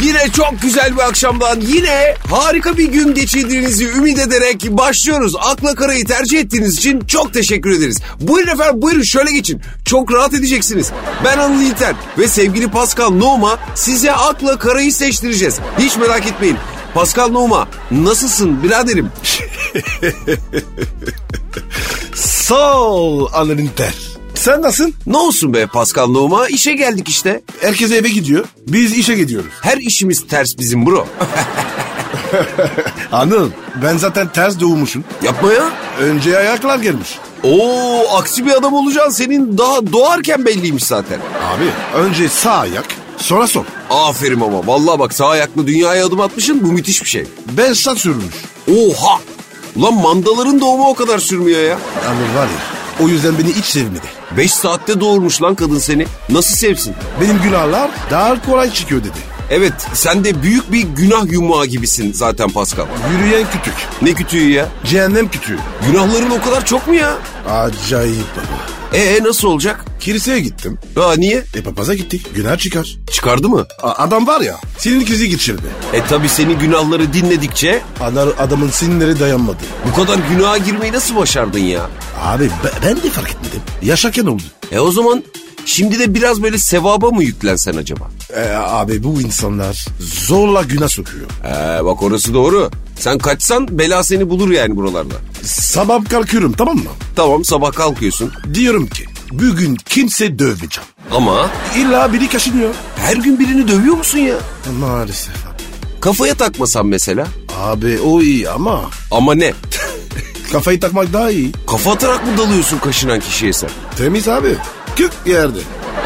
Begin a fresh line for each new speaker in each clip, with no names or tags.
Yine çok güzel bir akşamdan yine harika bir gün geçirdiğinizi ümit ederek başlıyoruz. Akla Kara'yı tercih ettiğiniz için çok teşekkür ederiz. Buyurun efendim buyurun şöyle geçin. Çok rahat edeceksiniz. Ben Anıl İlter ve sevgili Pascal Noma size Akla Kara'yı seçtireceğiz. Hiç merak etmeyin. Pascal Noma nasılsın biraderim?
Sağ ol Anıl İnter. Sen nasılsın?
Ne olsun be Pascal Noma işe geldik işte.
Herkes eve gidiyor. Biz işe gidiyoruz.
Her işimiz ters bizim bro.
Anıl ben zaten ters doğmuşum.
Yapma ya.
Önce ayaklar gelmiş.
Oo aksi bir adam olacaksın senin daha doğarken belliymiş zaten.
Abi önce sağ ayak sonra sol.
Aferin ama. Vallahi bak sağ ayaklı dünyaya adım atmışsın. Bu müthiş bir şey.
Ben sağ sürmüş.
Oha! Ulan mandaların doğumu o kadar sürmüyor ya.
Anıl var ya o yüzden beni hiç sevmedi.
5 saatte doğurmuş lan kadın seni. Nasıl sevsin?
Benim günahlar daha kolay çıkıyor dedi.
Evet sen de büyük bir günah yumağı gibisin zaten Pascal.
Yürüyen kütük.
Ne kütüğü ya?
Cehennem kütüğü.
Günahların o kadar çok mu ya?
Acayip baba.
Ee nasıl olacak?
Kiliseye gittim.
Ha niye?
E papaza gittik. Günah çıkar.
Çıkardı mı?
A- adam var ya sinir krizi geçirdi.
E tabi senin günahları dinledikçe
Anar adamın sinirleri dayanmadı.
bu kadar günaha girmeyi nasıl başardın ya?
Abi be- ben de fark etmedim. Yaşarken oldu.
E o zaman şimdi de biraz böyle sevaba mı yüklensen acaba?
E, abi bu insanlar zorla günah sokuyor.
Ee, bak orası doğru. Sen kaçsan bela seni bulur yani buralarda.
Sabah kalkıyorum tamam mı?
Tamam sabah kalkıyorsun
Diyorum ki bugün kimse dövmeyeceğim.
ama
İlla biri kaşınıyor.
her gün birini dövüyor musun ya?
E, Maalesef abi.
Kafaya takmasan mesela.
Abi o iyi ama
Ama ne?
kafayı takmak daha iyi.
Kafa atarak mı dalıyorsun kaşınan kişiye sen?
Temiz abi. Kök yerde.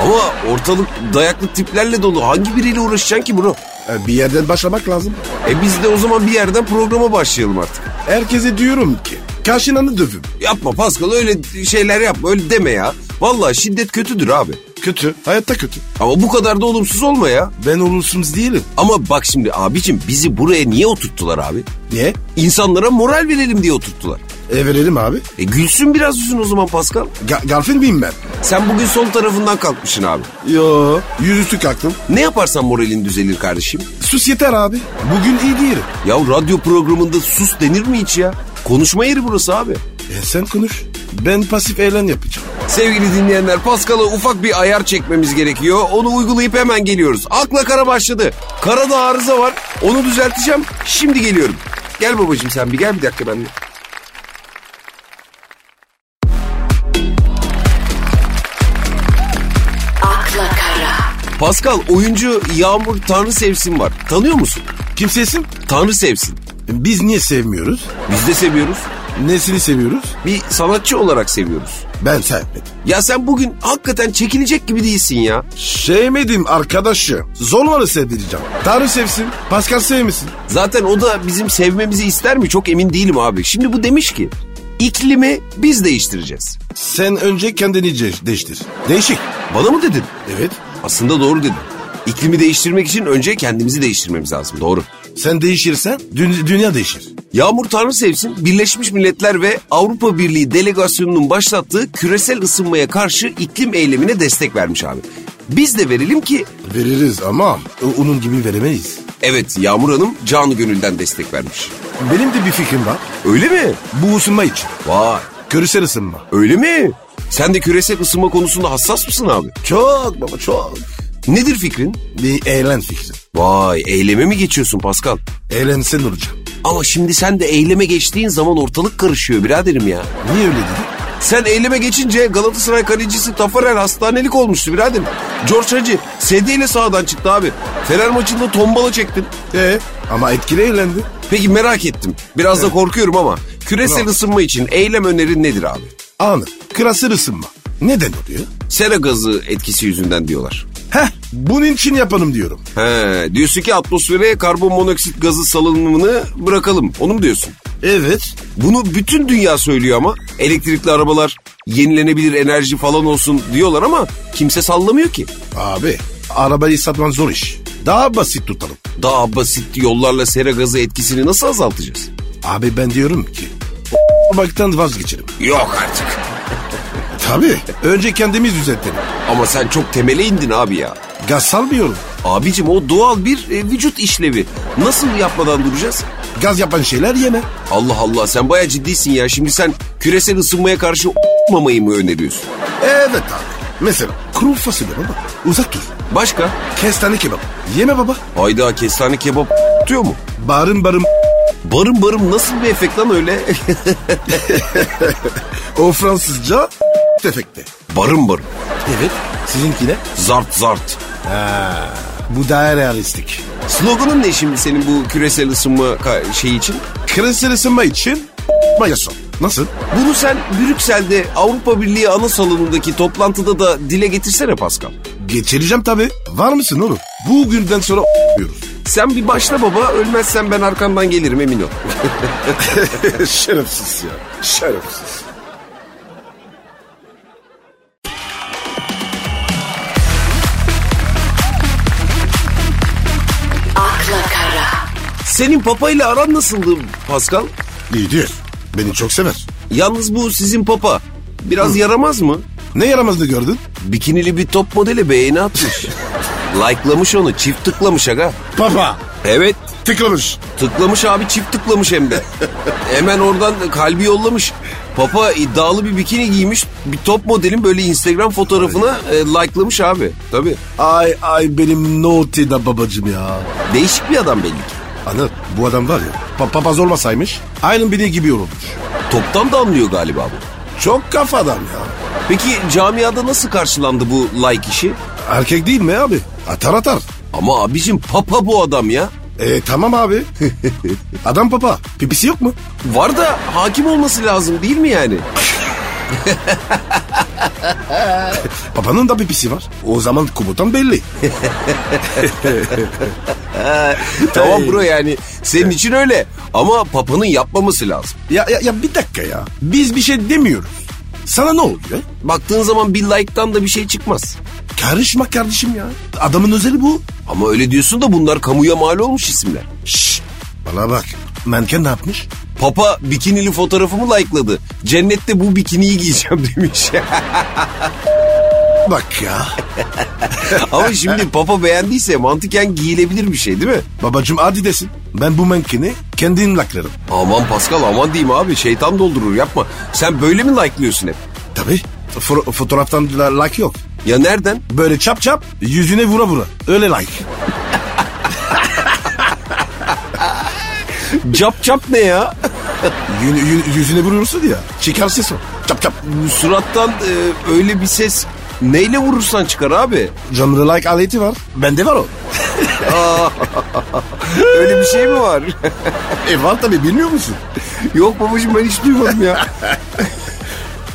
Ama ortalık dayaklı tiplerle dolu. Hangi biriyle uğraşacaksın ki bunu?
E, bir yerden başlamak lazım.
E biz de o zaman bir yerden programa başlayalım artık.
Herkese diyorum ki kaşınanı dövün.
Yapma Pascal öyle şeyler yapma öyle deme ya. Vallahi şiddet kötüdür abi.
Kötü. Hayatta kötü.
Ama bu kadar da olumsuz olma ya.
Ben olumsuz değilim.
Ama bak şimdi abicim bizi buraya niye oturttular abi?
Niye?
İnsanlara moral verelim diye oturttular.
E verelim abi.
E gülsün biraz yüzün o zaman Pascal.
Ga- Garfin miyim ben?
Sen bugün sol tarafından kalkmışsın abi.
Yo. Yüzüstü kalktım.
Ne yaparsan moralin düzelir kardeşim.
Sus yeter abi. Bugün iyi değilim.
Ya radyo programında sus denir mi hiç ya? Konuşma yeri burası abi.
E sen konuş. Ben pasif eğlen yapacağım.
Sevgili dinleyenler Pascal'a ufak bir ayar çekmemiz gerekiyor. Onu uygulayıp hemen geliyoruz. Akla kara başladı. Karada arıza var. Onu düzelteceğim. Şimdi geliyorum. Gel babacığım sen bir gel bir dakika benimle.
akla kara,
Pascal oyuncu Yağmur Tanrı Sevsin var. Tanıyor musun?
Kimsesin?
Tanrı Sevsin.
Biz niye sevmiyoruz?
Biz de seviyoruz.
Nesini seviyoruz?
Bir sanatçı olarak seviyoruz.
Ben sevmedim.
Ya sen bugün hakikaten çekilecek gibi değilsin ya.
Sevmedim arkadaşı. Zorla sevdireceğim. Tanrı sevsin. Pascal sevmesin.
Zaten o da bizim sevmemizi ister mi çok emin değilim abi. Şimdi bu demiş ki iklimi biz değiştireceğiz.
Sen önce kendini ce- değiştir. Değişik.
Bana mı dedin?
Evet.
Aslında doğru dedin. İklimi değiştirmek için önce kendimizi değiştirmemiz lazım. Doğru.
Sen değişirsen dü- dünya değişir.
Yağmur Tanrı sevsin Birleşmiş Milletler ve Avrupa Birliği delegasyonunun başlattığı küresel ısınmaya karşı iklim eylemine destek vermiş abi. Biz de verelim ki
Veririz ama o- onun gibi veremeyiz.
evet Yağmur Hanım canı gönülden destek vermiş.
Benim de bir fikrim var.
Öyle mi?
Bu ısınma için.
Vay
Küresel ısınma.
öyle mi? Sen de küresel ısınma konusunda hassas mısın abi?
Çok baba çok.
Nedir fikrin?
Bir eğlen fikri.
Vay eyleme mi geçiyorsun Pascal?
Eğlensen olacağım.
Ama şimdi sen de eyleme geçtiğin zaman ortalık karışıyor biraderim ya.
Niye öyle dedin?
Sen eyleme geçince Galatasaray kalecisi Tafarel hastanelik olmuştu biraderim. George Hacı sedyeyle sağdan çıktı abi. Fener maçında tombala çektin.
E ama etkili eğlendi.
Peki merak ettim. Biraz da korkuyorum ama küresel
Bravo.
ısınma için eylem önerin nedir abi?
Anı. Küresel ısınma. Neden oluyor?
Sera gazı etkisi yüzünden diyorlar.
Heh bunun için yapalım diyorum.
He, diyorsun ki atmosfere karbon monoksit gazı salınımını bırakalım. Onu mu diyorsun?
Evet.
Bunu bütün dünya söylüyor ama elektrikli arabalar, yenilenebilir enerji falan olsun diyorlar ama kimse sallamıyor ki.
Abi arabayı satman zor iş. Daha basit tutalım.
Daha basit yollarla sera gazı etkisini nasıl azaltacağız?
Abi ben diyorum ki baktan vazgeçelim.
Yok artık.
Tabii. Önce kendimiz düzeltelim.
Ama sen çok temele indin abi ya.
Gaz salmıyorum.
Abicim o doğal bir e, vücut işlevi. Nasıl yapmadan duracağız?
Gaz yapan şeyler yeme.
Allah Allah sen baya ciddisin ya. Şimdi sen küresel ısınmaya karşı mamayı mı öneriyorsun?
Evet abi. Mesela kuru fasulye baba. Uzak dur.
Başka?
Kestane kebap. Yeme baba.
Hayda kestane kebap diyor mu?
Barın barın.
Barım barım nasıl bir efekt lan öyle?
O Fransızca tefekte.
barım barım.
Evet. Sizinki ne?
Zart zart.
Bu daha realistik.
Sloganın ne şimdi senin bu küresel ısınma ka- şeyi için?
Küresel ısınma için mayason. Nasıl?
Bunu sen Brüksel'de Avrupa Birliği ana salonundaki toplantıda da dile getirsene Pascal.
Geçireceğim tabii. Var mısın oğlum? Bugünden sonra diyoruz.
Sen bir başla baba ölmezsen ben arkandan gelirim emin ol.
Şerefsiz ya. Şerefsiz.
akla kara,
Senin papayla aran nasıldı Pascal?
İyidir. Beni çok sever.
Yalnız bu sizin papa biraz yaramaz mı?
Ne yaramazlığı gördün?
Bikinili bir top modeli beğeni atmış. Like'lamış onu çift tıklamış aga.
Papa.
Evet
Tıklamış.
tıklamış abi çift tıklamış hem de. Hemen oradan kalbi yollamış. Papa iddialı bir bikini giymiş. Bir top modelin böyle Instagram fotoğrafına e, like'lamış abi. Tabii.
Ay ay benim naughty da babacım ya.
Değişik bir adam belli ki.
Anıl bu adam var ya pa- papaz olmasaymış aynı biri gibi yorulmuş.
Toptan da anlıyor galiba bu.
Çok kafadan ya.
Peki camiada nasıl karşılandı bu like işi?
Erkek değil mi abi? Atar atar.
Ama abicim papa bu adam ya.
E tamam abi. adam papa. Pipisi yok mu?
Var da hakim olması lazım değil mi yani?
Papanın da pipisi var. O zaman komutan belli.
tamam bro yani senin için öyle. Ama papanın yapmaması lazım.
Ya, ya, ya bir dakika ya. Biz bir şey demiyoruz. Sana ne oluyor?
Baktığın zaman bir like'tan da bir şey çıkmaz.
Karışma kardeşim ya. Adamın özeli bu.
Ama öyle diyorsun da bunlar kamuya mal olmuş isimler.
Şşş. Bana bak. Menken ne yapmış?
Papa bikinili fotoğrafımı like'ladı. Cennette bu bikiniyi giyeceğim demiş.
Bak ya.
Ama şimdi papa beğendiyse mantıken giyilebilir bir şey değil mi?
Babacım hadi desin. Ben bu menkeni kendim laklarım.
Aman Pascal aman diyeyim abi şeytan doldurur yapma. Sen böyle mi like'lıyorsun hep?
Tabii. Fo- fotoğraftan la- like yok.
Ya nereden?
Böyle çap çap yüzüne vura vura. Öyle like.
Cap cap ne ya?
Yün- yün- yüzüne vuruyorsun ya. Çıkar ses o. Çap çap.
Surattan e, öyle bir ses neyle vurursan çıkar abi.
Canlı like aleti var. Bende var o.
Öyle bir şey mi var?
E var tabii bilmiyor musun?
Yok babacığım ben hiç duymadım ya.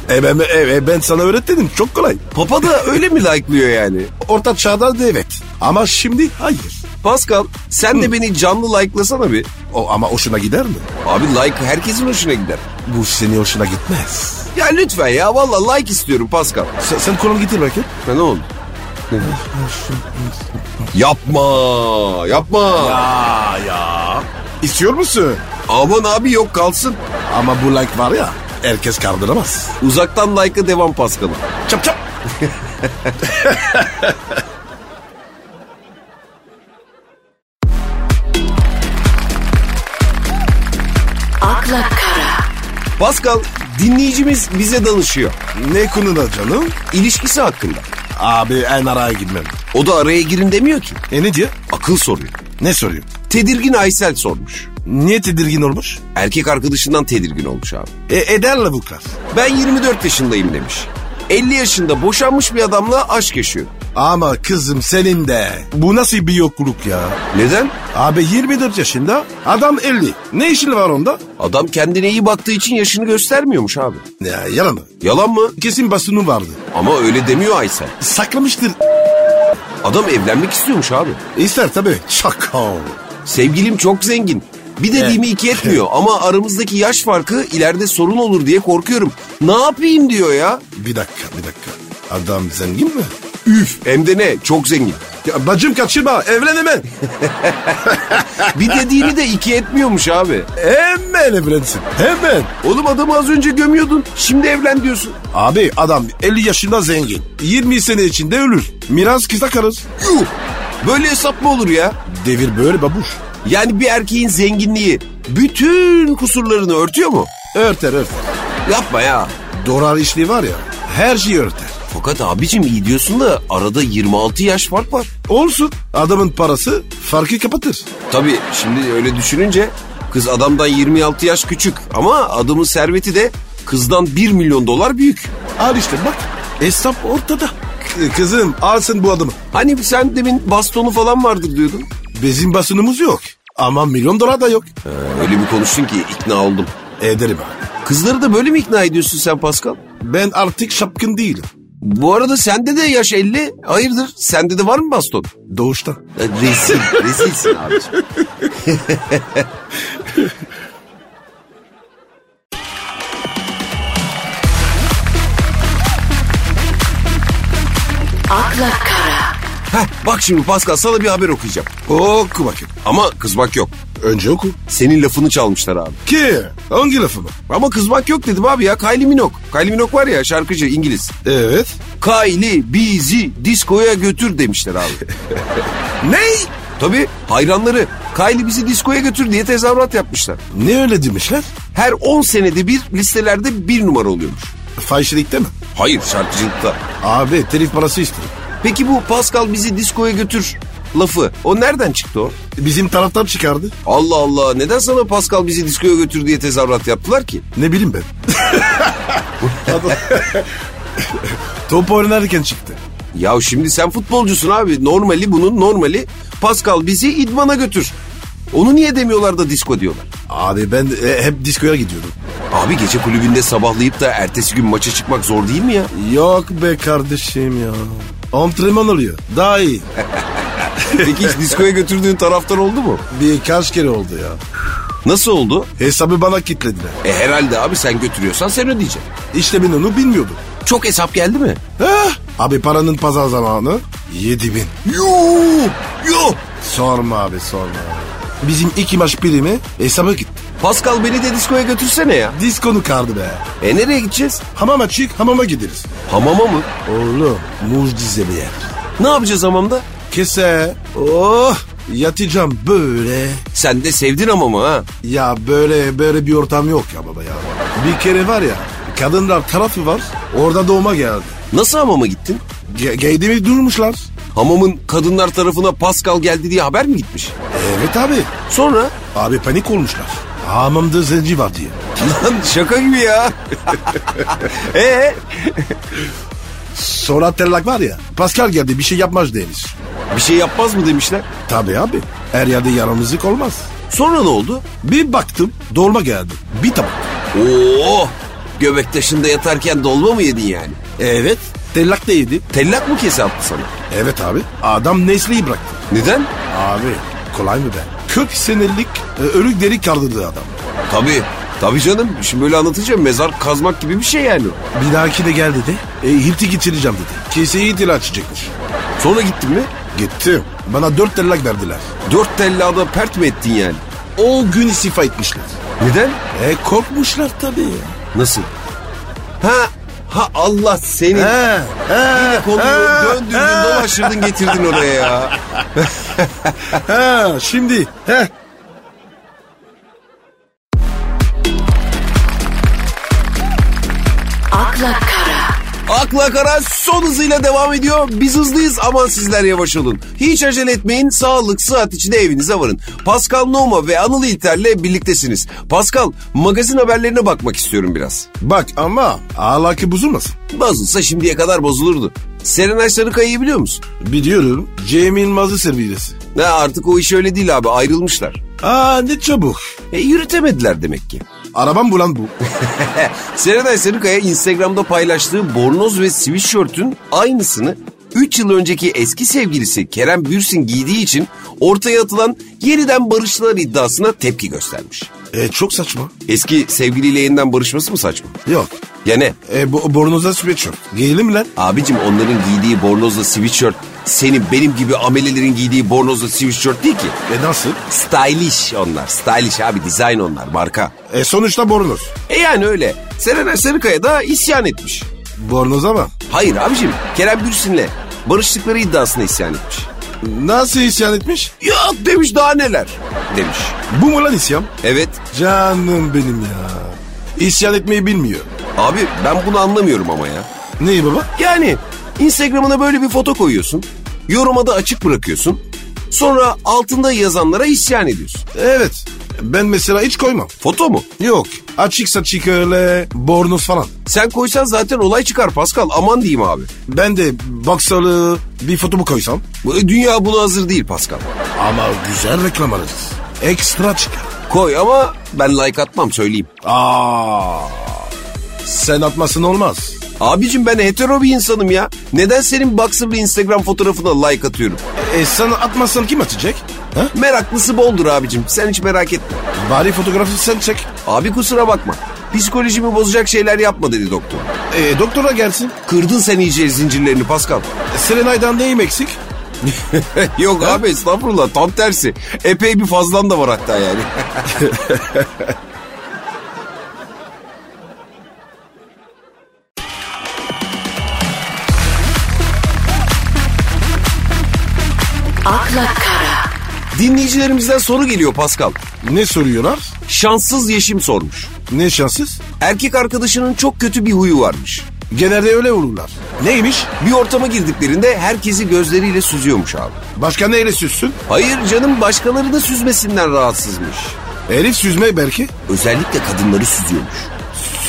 E ben, e, e, ben sana öğrettim. Çok kolay.
Papa da öyle mi like'lıyor yani?
Orta çağda da evet. Ama şimdi hayır.
Pascal sen de beni canlı like'lasana bir.
O, ama hoşuna gider mi?
Abi like herkesin hoşuna gider.
Bu senin hoşuna gitmez.
Ya lütfen ya valla like istiyorum Pascal.
Sen, sen kolunu getir bakayım.
Ne oldu? yapma yapma.
Aa ya. İstiyor musun?
Aman abi yok kalsın.
Ama bu like var ya herkes kaldıramaz.
Uzaktan like'a devam Pascal'ım.
Çap çap.
akla kara,
Pascal dinleyicimiz bize danışıyor.
Ne konuda canım?
İlişkisi hakkında.
Abi en araya gitmem.
O da araya girin demiyor ki.
E ne diyor?
Akıl soruyor.
Ne soruyor?
Tedirgin Aysel sormuş.
Niye tedirgin olmuş?
Erkek arkadaşından tedirgin olmuş abi.
E ederle bu kız.
Ben 24 yaşındayım demiş. 50 yaşında boşanmış bir adamla aşk yaşıyor.
Ama kızım senin de. Bu nasıl bir yokluk ya?
Neden?
Abi 24 yaşında adam 50. Ne işin var onda?
Adam kendine iyi baktığı için yaşını göstermiyormuş abi.
Ya yalanı.
Yalan mı?
Kesin basını vardı.
Ama öyle demiyor Aysel.
Saklamıştır.
Adam evlenmek istiyormuş abi.
İster tabii. Şaka.
Sevgilim çok zengin. Bir dediğimi iki etmiyor ama aramızdaki yaş farkı ileride sorun olur diye korkuyorum. Ne yapayım diyor ya.
Bir dakika bir dakika. Adam zengin mi?
Üf hem de ne çok zengin.
Ya bacım kaçırma evlen hemen.
Bir dediğini de iki etmiyormuş abi.
hemen evlensin hemen.
Oğlum adamı az önce gömüyordun şimdi evlen diyorsun.
Abi adam 50 yaşında zengin. 20 sene içinde ölür. Miras kısa kalır.
Yuh! Böyle hesap mı olur ya?
Devir böyle babuş.
Yani bir erkeğin zenginliği bütün kusurlarını örtüyor mu?
Örter örter.
Yapma ya.
Dolar işliği var ya her şeyi örter.
Fakat abicim iyi diyorsun da arada 26 yaş fark var.
Olsun adamın parası farkı kapatır.
Tabii şimdi öyle düşününce kız adamdan 26 yaş küçük ama adamın serveti de kızdan 1 milyon dolar büyük.
Al işte bak hesap ortada. K- Kızım alsın bu adamı.
Hani sen demin bastonu falan vardır diyordun.
Bizim basınımız yok. Ama milyon dolar da yok.
Ee, öyle bir konuştun ki ikna oldum.
Ederim abi.
Kızları da böyle mi ikna ediyorsun sen Pascal?
Ben artık şapkın değilim.
Bu arada sende de yaş 50. Hayırdır sende de var mı baston?
Doğuştan.
Ya Rezil, rezilsin abicim.
akla kara,
Heh, bak şimdi Pascal sana bir haber okuyacağım.
Oku bakayım.
Ama kızmak yok.
Önce oku.
Senin lafını çalmışlar abi.
Ki hangi lafı mı?
Ama kızmak yok dedim abi ya. Kylie Minogue. Kylie Minogue var ya şarkıcı İngiliz.
Evet.
Kylie bizi diskoya götür demişler abi.
Ne?
Tabii hayranları Kylie bizi diskoya götür diye tezahürat yapmışlar.
Ne öyle demişler?
Her 10 senede bir listelerde bir numara oluyormuş.
Fahişelikte mi?
Hayır şarkıcılıkta.
Abi telif parası istedim.
Peki bu Pascal bizi diskoya götür lafı o nereden çıktı o?
Bizim taraftan çıkardı.
Allah Allah neden sana Pascal bizi diskoya götür diye tezahürat yaptılar ki?
Ne bileyim ben. Adam- Top oynarken çıktı.
Ya şimdi sen futbolcusun abi normali bunun normali Pascal bizi idmana götür. Onu niye demiyorlar da disko diyorlar?
Abi ben e, hep diskoya gidiyordum.
Abi gece kulübünde sabahlayıp da ertesi gün maça çıkmak zor değil mi ya?
Yok be kardeşim ya. Antrenman oluyor. Daha iyi.
E Peki hiç diskoya götürdüğün taraftan oldu mu?
Birkaç kere oldu ya.
Nasıl oldu?
Hesabı bana kitlediler.
E herhalde abi sen götürüyorsan sen ödeyeceksin.
İşte ben onu bilmiyordum.
Çok hesap geldi mi?
Heh. Abi paranın pazar zamanı 7000. bin.
Yoo! Yoo!
Sorma abi sorma. Bizim iki maç birimi hesaba gitti.
Pascal beni de diskoya götürsene ya.
Diskonu kardı be.
E nereye gideceğiz?
Hamama çık hamama gideriz.
Hamama mı?
Oğlum mucize bir yer.
Ne yapacağız hamamda?
Kese. Oh yatacağım böyle.
Sen de sevdin hamamı ha.
Ya böyle böyle bir ortam yok ya baba ya. Bir kere var ya kadınlar tarafı var orada doğuma geldi.
Nasıl hamama gittin?
Ge- Geydimi durmuşlar.
Hamamın kadınlar tarafına Pascal geldi diye haber mi gitmiş?
Evet abi.
Sonra?
Abi panik olmuşlar. Hamamda zenci var diye.
Lan şaka gibi ya. Ee?
Sonra tellak var ya. Pascal geldi bir şey yapmaz demiş.
Bir şey yapmaz mı demişler.
Tabii abi. Her yerde yaramızlık olmaz.
Sonra ne oldu?
Bir baktım dolma geldi. Bir tabak.
Oo! Göbek taşında yatarken dolma mı yedin yani? "E,
Evet. Tellak da yedi.
Tellak mı kese attı sana?
Evet abi. Adam Nesli'yi bıraktı.
Neden?
Abi kolay mı be? 40 senelik e, ölü deri kaldırdı adam.
Tabii. Tabii canım. Şimdi böyle anlatacağım. Mezar kazmak gibi bir şey yani.
Bir dahaki de gel dedi. E, Hipti geçireceğim dedi. Keseyi itil açacakmış.
Sonra gittin mi?
Gittim. Bana dört tellak verdiler.
Dört tellada pert mi ettin yani?
O gün istifa etmişler.
Neden?
E korkmuşlar tabii.
Nasıl? Ha, ha Allah seni.
He, he,
Konuyu
he,
döndürdün,
he,
dolaştırdın, getirdin oraya ya.
he, şimdi. He.
akla kara,
Akla kara son hızıyla devam ediyor. Biz hızlıyız aman sizler yavaş olun. Hiç acele etmeyin. Sağlık, sıhhat içinde evinize varın. Pascal Noma ve Anıl İlter'le birliktesiniz. Pascal, magazin haberlerine bakmak istiyorum biraz.
Bak ama ahlakı bozulmasın.
Bozulsa şimdiye kadar bozulurdu. Serenay Sarıkaya'yı biliyor musun?
Biliyorum Cem Yılmaz'ı servilesi.
Ne artık o iş öyle değil abi ayrılmışlar.
Aa ne çabuk.
E, yürütemediler demek ki.
Arabam bulan bu.
Serenay Sarıkaya Instagram'da paylaştığı bornoz ve sweatshirt'ün aynısını 3 yıl önceki eski sevgilisi Kerem Bürsin giydiği için ortaya atılan yeniden barıştılar iddiasına tepki göstermiş.
E, çok saçma.
Eski sevgiliyle yeniden barışması mı saçma?
Yok.
Ya ne?
E, bo bornoza sweatshirt. Giyelim lan.
Abicim onların giydiği bornozla sweatshirt senin benim gibi amelelerin giydiği bornozla sweatshirt değil ki.
E nasıl?
Stylish onlar. Stylish abi dizayn onlar marka.
E sonuçta bornoz.
E yani öyle. Serenay Sarıkaya da isyan etmiş.
Bornoz ama.
Hayır abicim Kerem Bürsin'le barıştıkları iddiasına isyan etmiş.
Nasıl isyan etmiş?
Yok demiş daha neler demiş.
Bu mu lan isyan?
Evet
Canım benim ya. İsyan etmeyi bilmiyor.
abi ben bunu anlamıyorum ama ya.
Neyi baba?
Yani Instagram'ına böyle bir foto koyuyorsun. Yoruma da açık bırakıyorsun. Sonra altında yazanlara isyan ediyorsun.
Evet. Ben mesela hiç koymam.
Foto mu?
Yok. Açık saçık öyle bornoz falan.
Sen koysan zaten olay çıkar Pascal. Aman diyeyim abi.
Ben de baksalı bir fotomu koysam.
Bu- Dünya buna hazır değil Pascal.
Ama güzel reklam alırız. Ekstra çıkar.
Koy ama ben like atmam söyleyeyim.
Aa, sen atmasın olmaz.
Abicim ben hetero bir insanım ya. Neden senin baksırlı Instagram fotoğrafına like atıyorum?
E sen atmasan kim atacak? Ha?
Meraklısı boldur abicim. Sen hiç merak etme.
Bari fotoğrafı sen çek.
Abi kusura bakma. Psikolojimi bozacak şeyler yapma dedi doktor.
E, doktora gelsin.
Kırdın sen iyice zincirlerini Pascal.
E, Selenay'dan neyim eksik?
Yok abi estağfurullah tam tersi. Epey bir fazlan da var hatta yani.
akla kara,
Dinleyicilerimizden soru geliyor Pascal.
Ne soruyorlar?
Şanssız Yeşim sormuş.
Ne şanssız?
Erkek arkadaşının çok kötü bir huyu varmış.
Genelde öyle olurlar. Neymiş?
Bir ortama girdiklerinde herkesi gözleriyle süzüyormuş abi.
Başka neyle süzsün?
Hayır canım başkaları da süzmesinden rahatsızmış.
Elif süzme belki.
Özellikle kadınları süzüyormuş.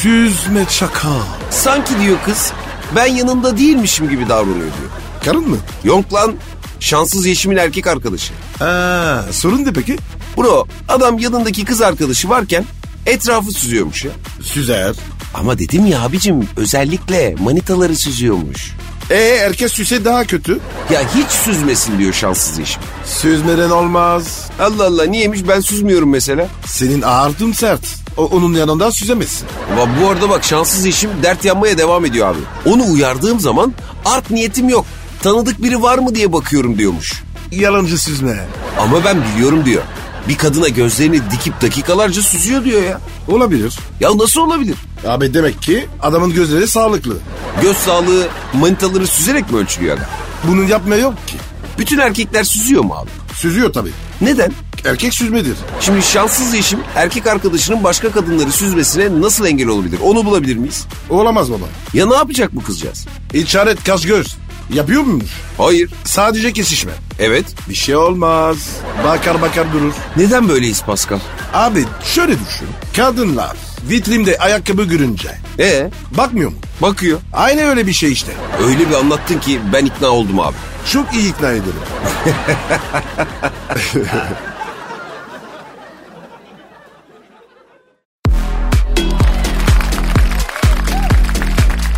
Süzme çaka.
Sanki diyor kız ben yanında değilmişim gibi davranıyor diyor.
Karın mı?
Yok lan şanssız Yeşim'in erkek arkadaşı.
Ha, sorun ne peki?
Bro adam yanındaki kız arkadaşı varken etrafı süzüyormuş ya.
Süzer.
Ama dedim ya abicim özellikle manitaları süzüyormuş.
E erkek süse daha kötü.
Ya hiç süzmesin diyor şanssız Yeşim.
Süzmeden olmaz.
Allah Allah niyemiş ben süzmüyorum mesela.
Senin ağırdın sert. O, onun yanında süzemezsin.
Va- Bu arada bak şanssız eşim dert yanmaya devam ediyor abi. Onu uyardığım zaman art niyetim yok. Tanıdık biri var mı diye bakıyorum diyormuş.
Yalancı süzme.
Ama ben biliyorum diyor. Bir kadına gözlerini dikip dakikalarca süzüyor diyor ya.
Olabilir.
Ya nasıl olabilir?
Abi demek ki adamın gözleri sağlıklı.
Göz sağlığı manitaları süzerek mi ölçülüyor aga?
Bunun yapmaya yok ki.
Bütün erkekler süzüyor mu abi?
Süzüyor tabii.
Neden?
Erkek süzmedir.
Şimdi şanssız eşim erkek arkadaşının başka kadınları süzmesine nasıl engel olabilir? Onu bulabilir miyiz?
Olamaz baba.
Ya ne yapacak bu kızcağız?
İçaret kaş göz. Yapıyor muymuş?
Hayır.
Sadece kesişme.
Evet.
Bir şey olmaz. Bakar bakar durur.
Neden böyleyiz Pascal?
Abi şöyle düşün. Kadınlar vitrinde ayakkabı görünce
Ee,
bakmıyor mu?
bakıyor.
Aynı öyle bir şey işte.
Öyle bir anlattın ki ben ikna oldum abi.
Çok iyi ikna ederim.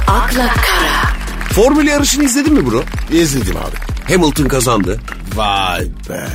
akla kara,
Formül yarışını izledin mi bro?
İzledim abi.
Hamilton kazandı.
Vay be.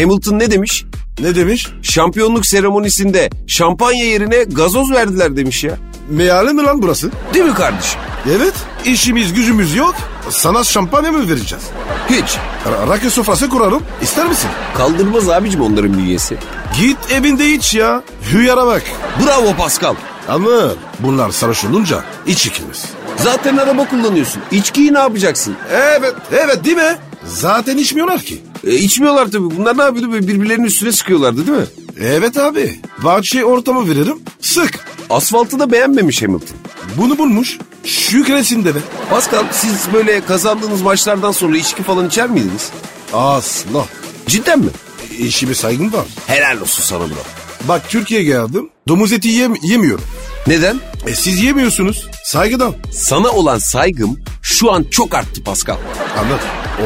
Hamilton ne demiş?
Ne demiş?
Şampiyonluk seremonisinde şampanya yerine gazoz verdiler demiş ya.
Meali mi lan burası?
Değil mi kardeşim?
Evet. İşimiz gücümüz yok. Sana şampanya mı vereceğiz?
Hiç.
Ra- Rakı sofrası kurarım. İster misin?
Kaldırmaz abicim onların bünyesi.
Git evinde iç ya. Hüyara bak.
Bravo Pascal.
Anıl. Bunlar sarhoş olunca iç ikimiz.
Zaten araba kullanıyorsun. İçkiyi ne yapacaksın?
Evet, evet değil mi? Zaten içmiyorlar ki.
E, içmiyorlar tabii. Bunlar ne yapıyordu? Böyle birbirlerinin üstüne sıkıyorlardı değil mi?
Evet abi. Bahçeye ortamı veririm. Sık.
Asfaltı da beğenmemiş Hamilton.
Bunu bulmuş. Şükresin de be.
Pascal siz böyle kazandığınız maçlardan sonra içki falan içer miydiniz?
Asla.
Cidden mi?
İşime saygım var.
Helal olsun sana bro.
Bak Türkiye'ye geldim. Domuz eti yem yemiyorum.
Neden?
E siz yemiyorsunuz. Saygıdan.
Sana olan saygım şu an çok arttı Pascal.
Anlat.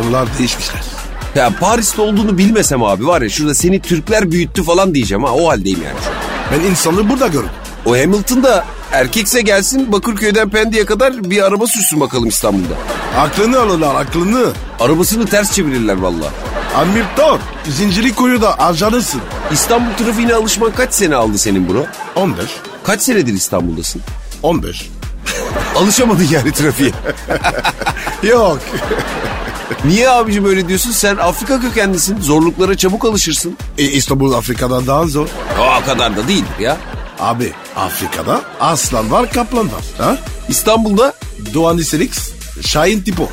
Onlar değişmişler.
Ya Paris'te olduğunu bilmesem abi var ya şurada seni Türkler büyüttü falan diyeceğim ha o haldeyim yani. şu an.
Ben insanlığı burada gördüm.
O Hamilton da erkekse gelsin Bakırköy'den Pendik'e kadar bir araba sürsün bakalım İstanbul'da.
Aklını alırlar aklını.
Arabasını ters çevirirler vallahi.
Amir Tor. Zinciri koyu da harcanırsın.
İstanbul trafiğine alışman kaç sene aldı senin bro?
15.
Kaç senedir İstanbul'dasın?
15.
Alışamadın yani trafiğe.
Yok.
Niye abicim öyle diyorsun? Sen Afrika kökenlisin. Zorluklara çabuk alışırsın.
E, İstanbul Afrika'dan daha zor.
O kadar da değildir ya.
Abi Afrika'da aslan var kaplan var. Ha?
İstanbul'da
Doğan Liselix Şahin tipo.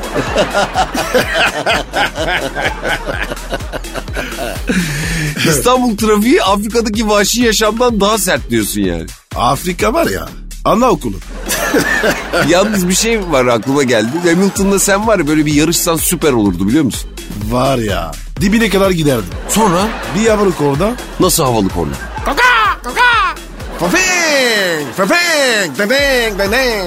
İstanbul trafiği Afrika'daki vahşi yaşamdan daha sert diyorsun yani.
Afrika var ya. Anaokulu.
Yalnız bir şey var aklıma geldi. Hamilton'da sen var ya böyle bir yarışsan süper olurdu biliyor musun?
Var ya. Dibine kadar giderdim.
Sonra
Bir yavruk orada.
nasıl havalı korna?
Fafeng! Fafeng! Dedeng! Dedeng!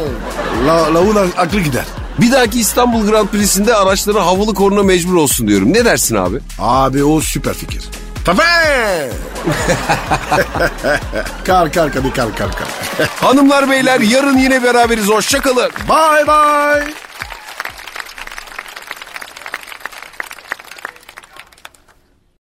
La, lavuğun aklı gider.
Bir dahaki İstanbul Grand Prix'sinde araçlara havalı korna mecbur olsun diyorum. Ne dersin abi?
Abi o süper fikir. Fafeng! kar kar hadi kar kar kar.
Hanımlar beyler yarın yine beraberiz. Hoşçakalın.
Bye bye.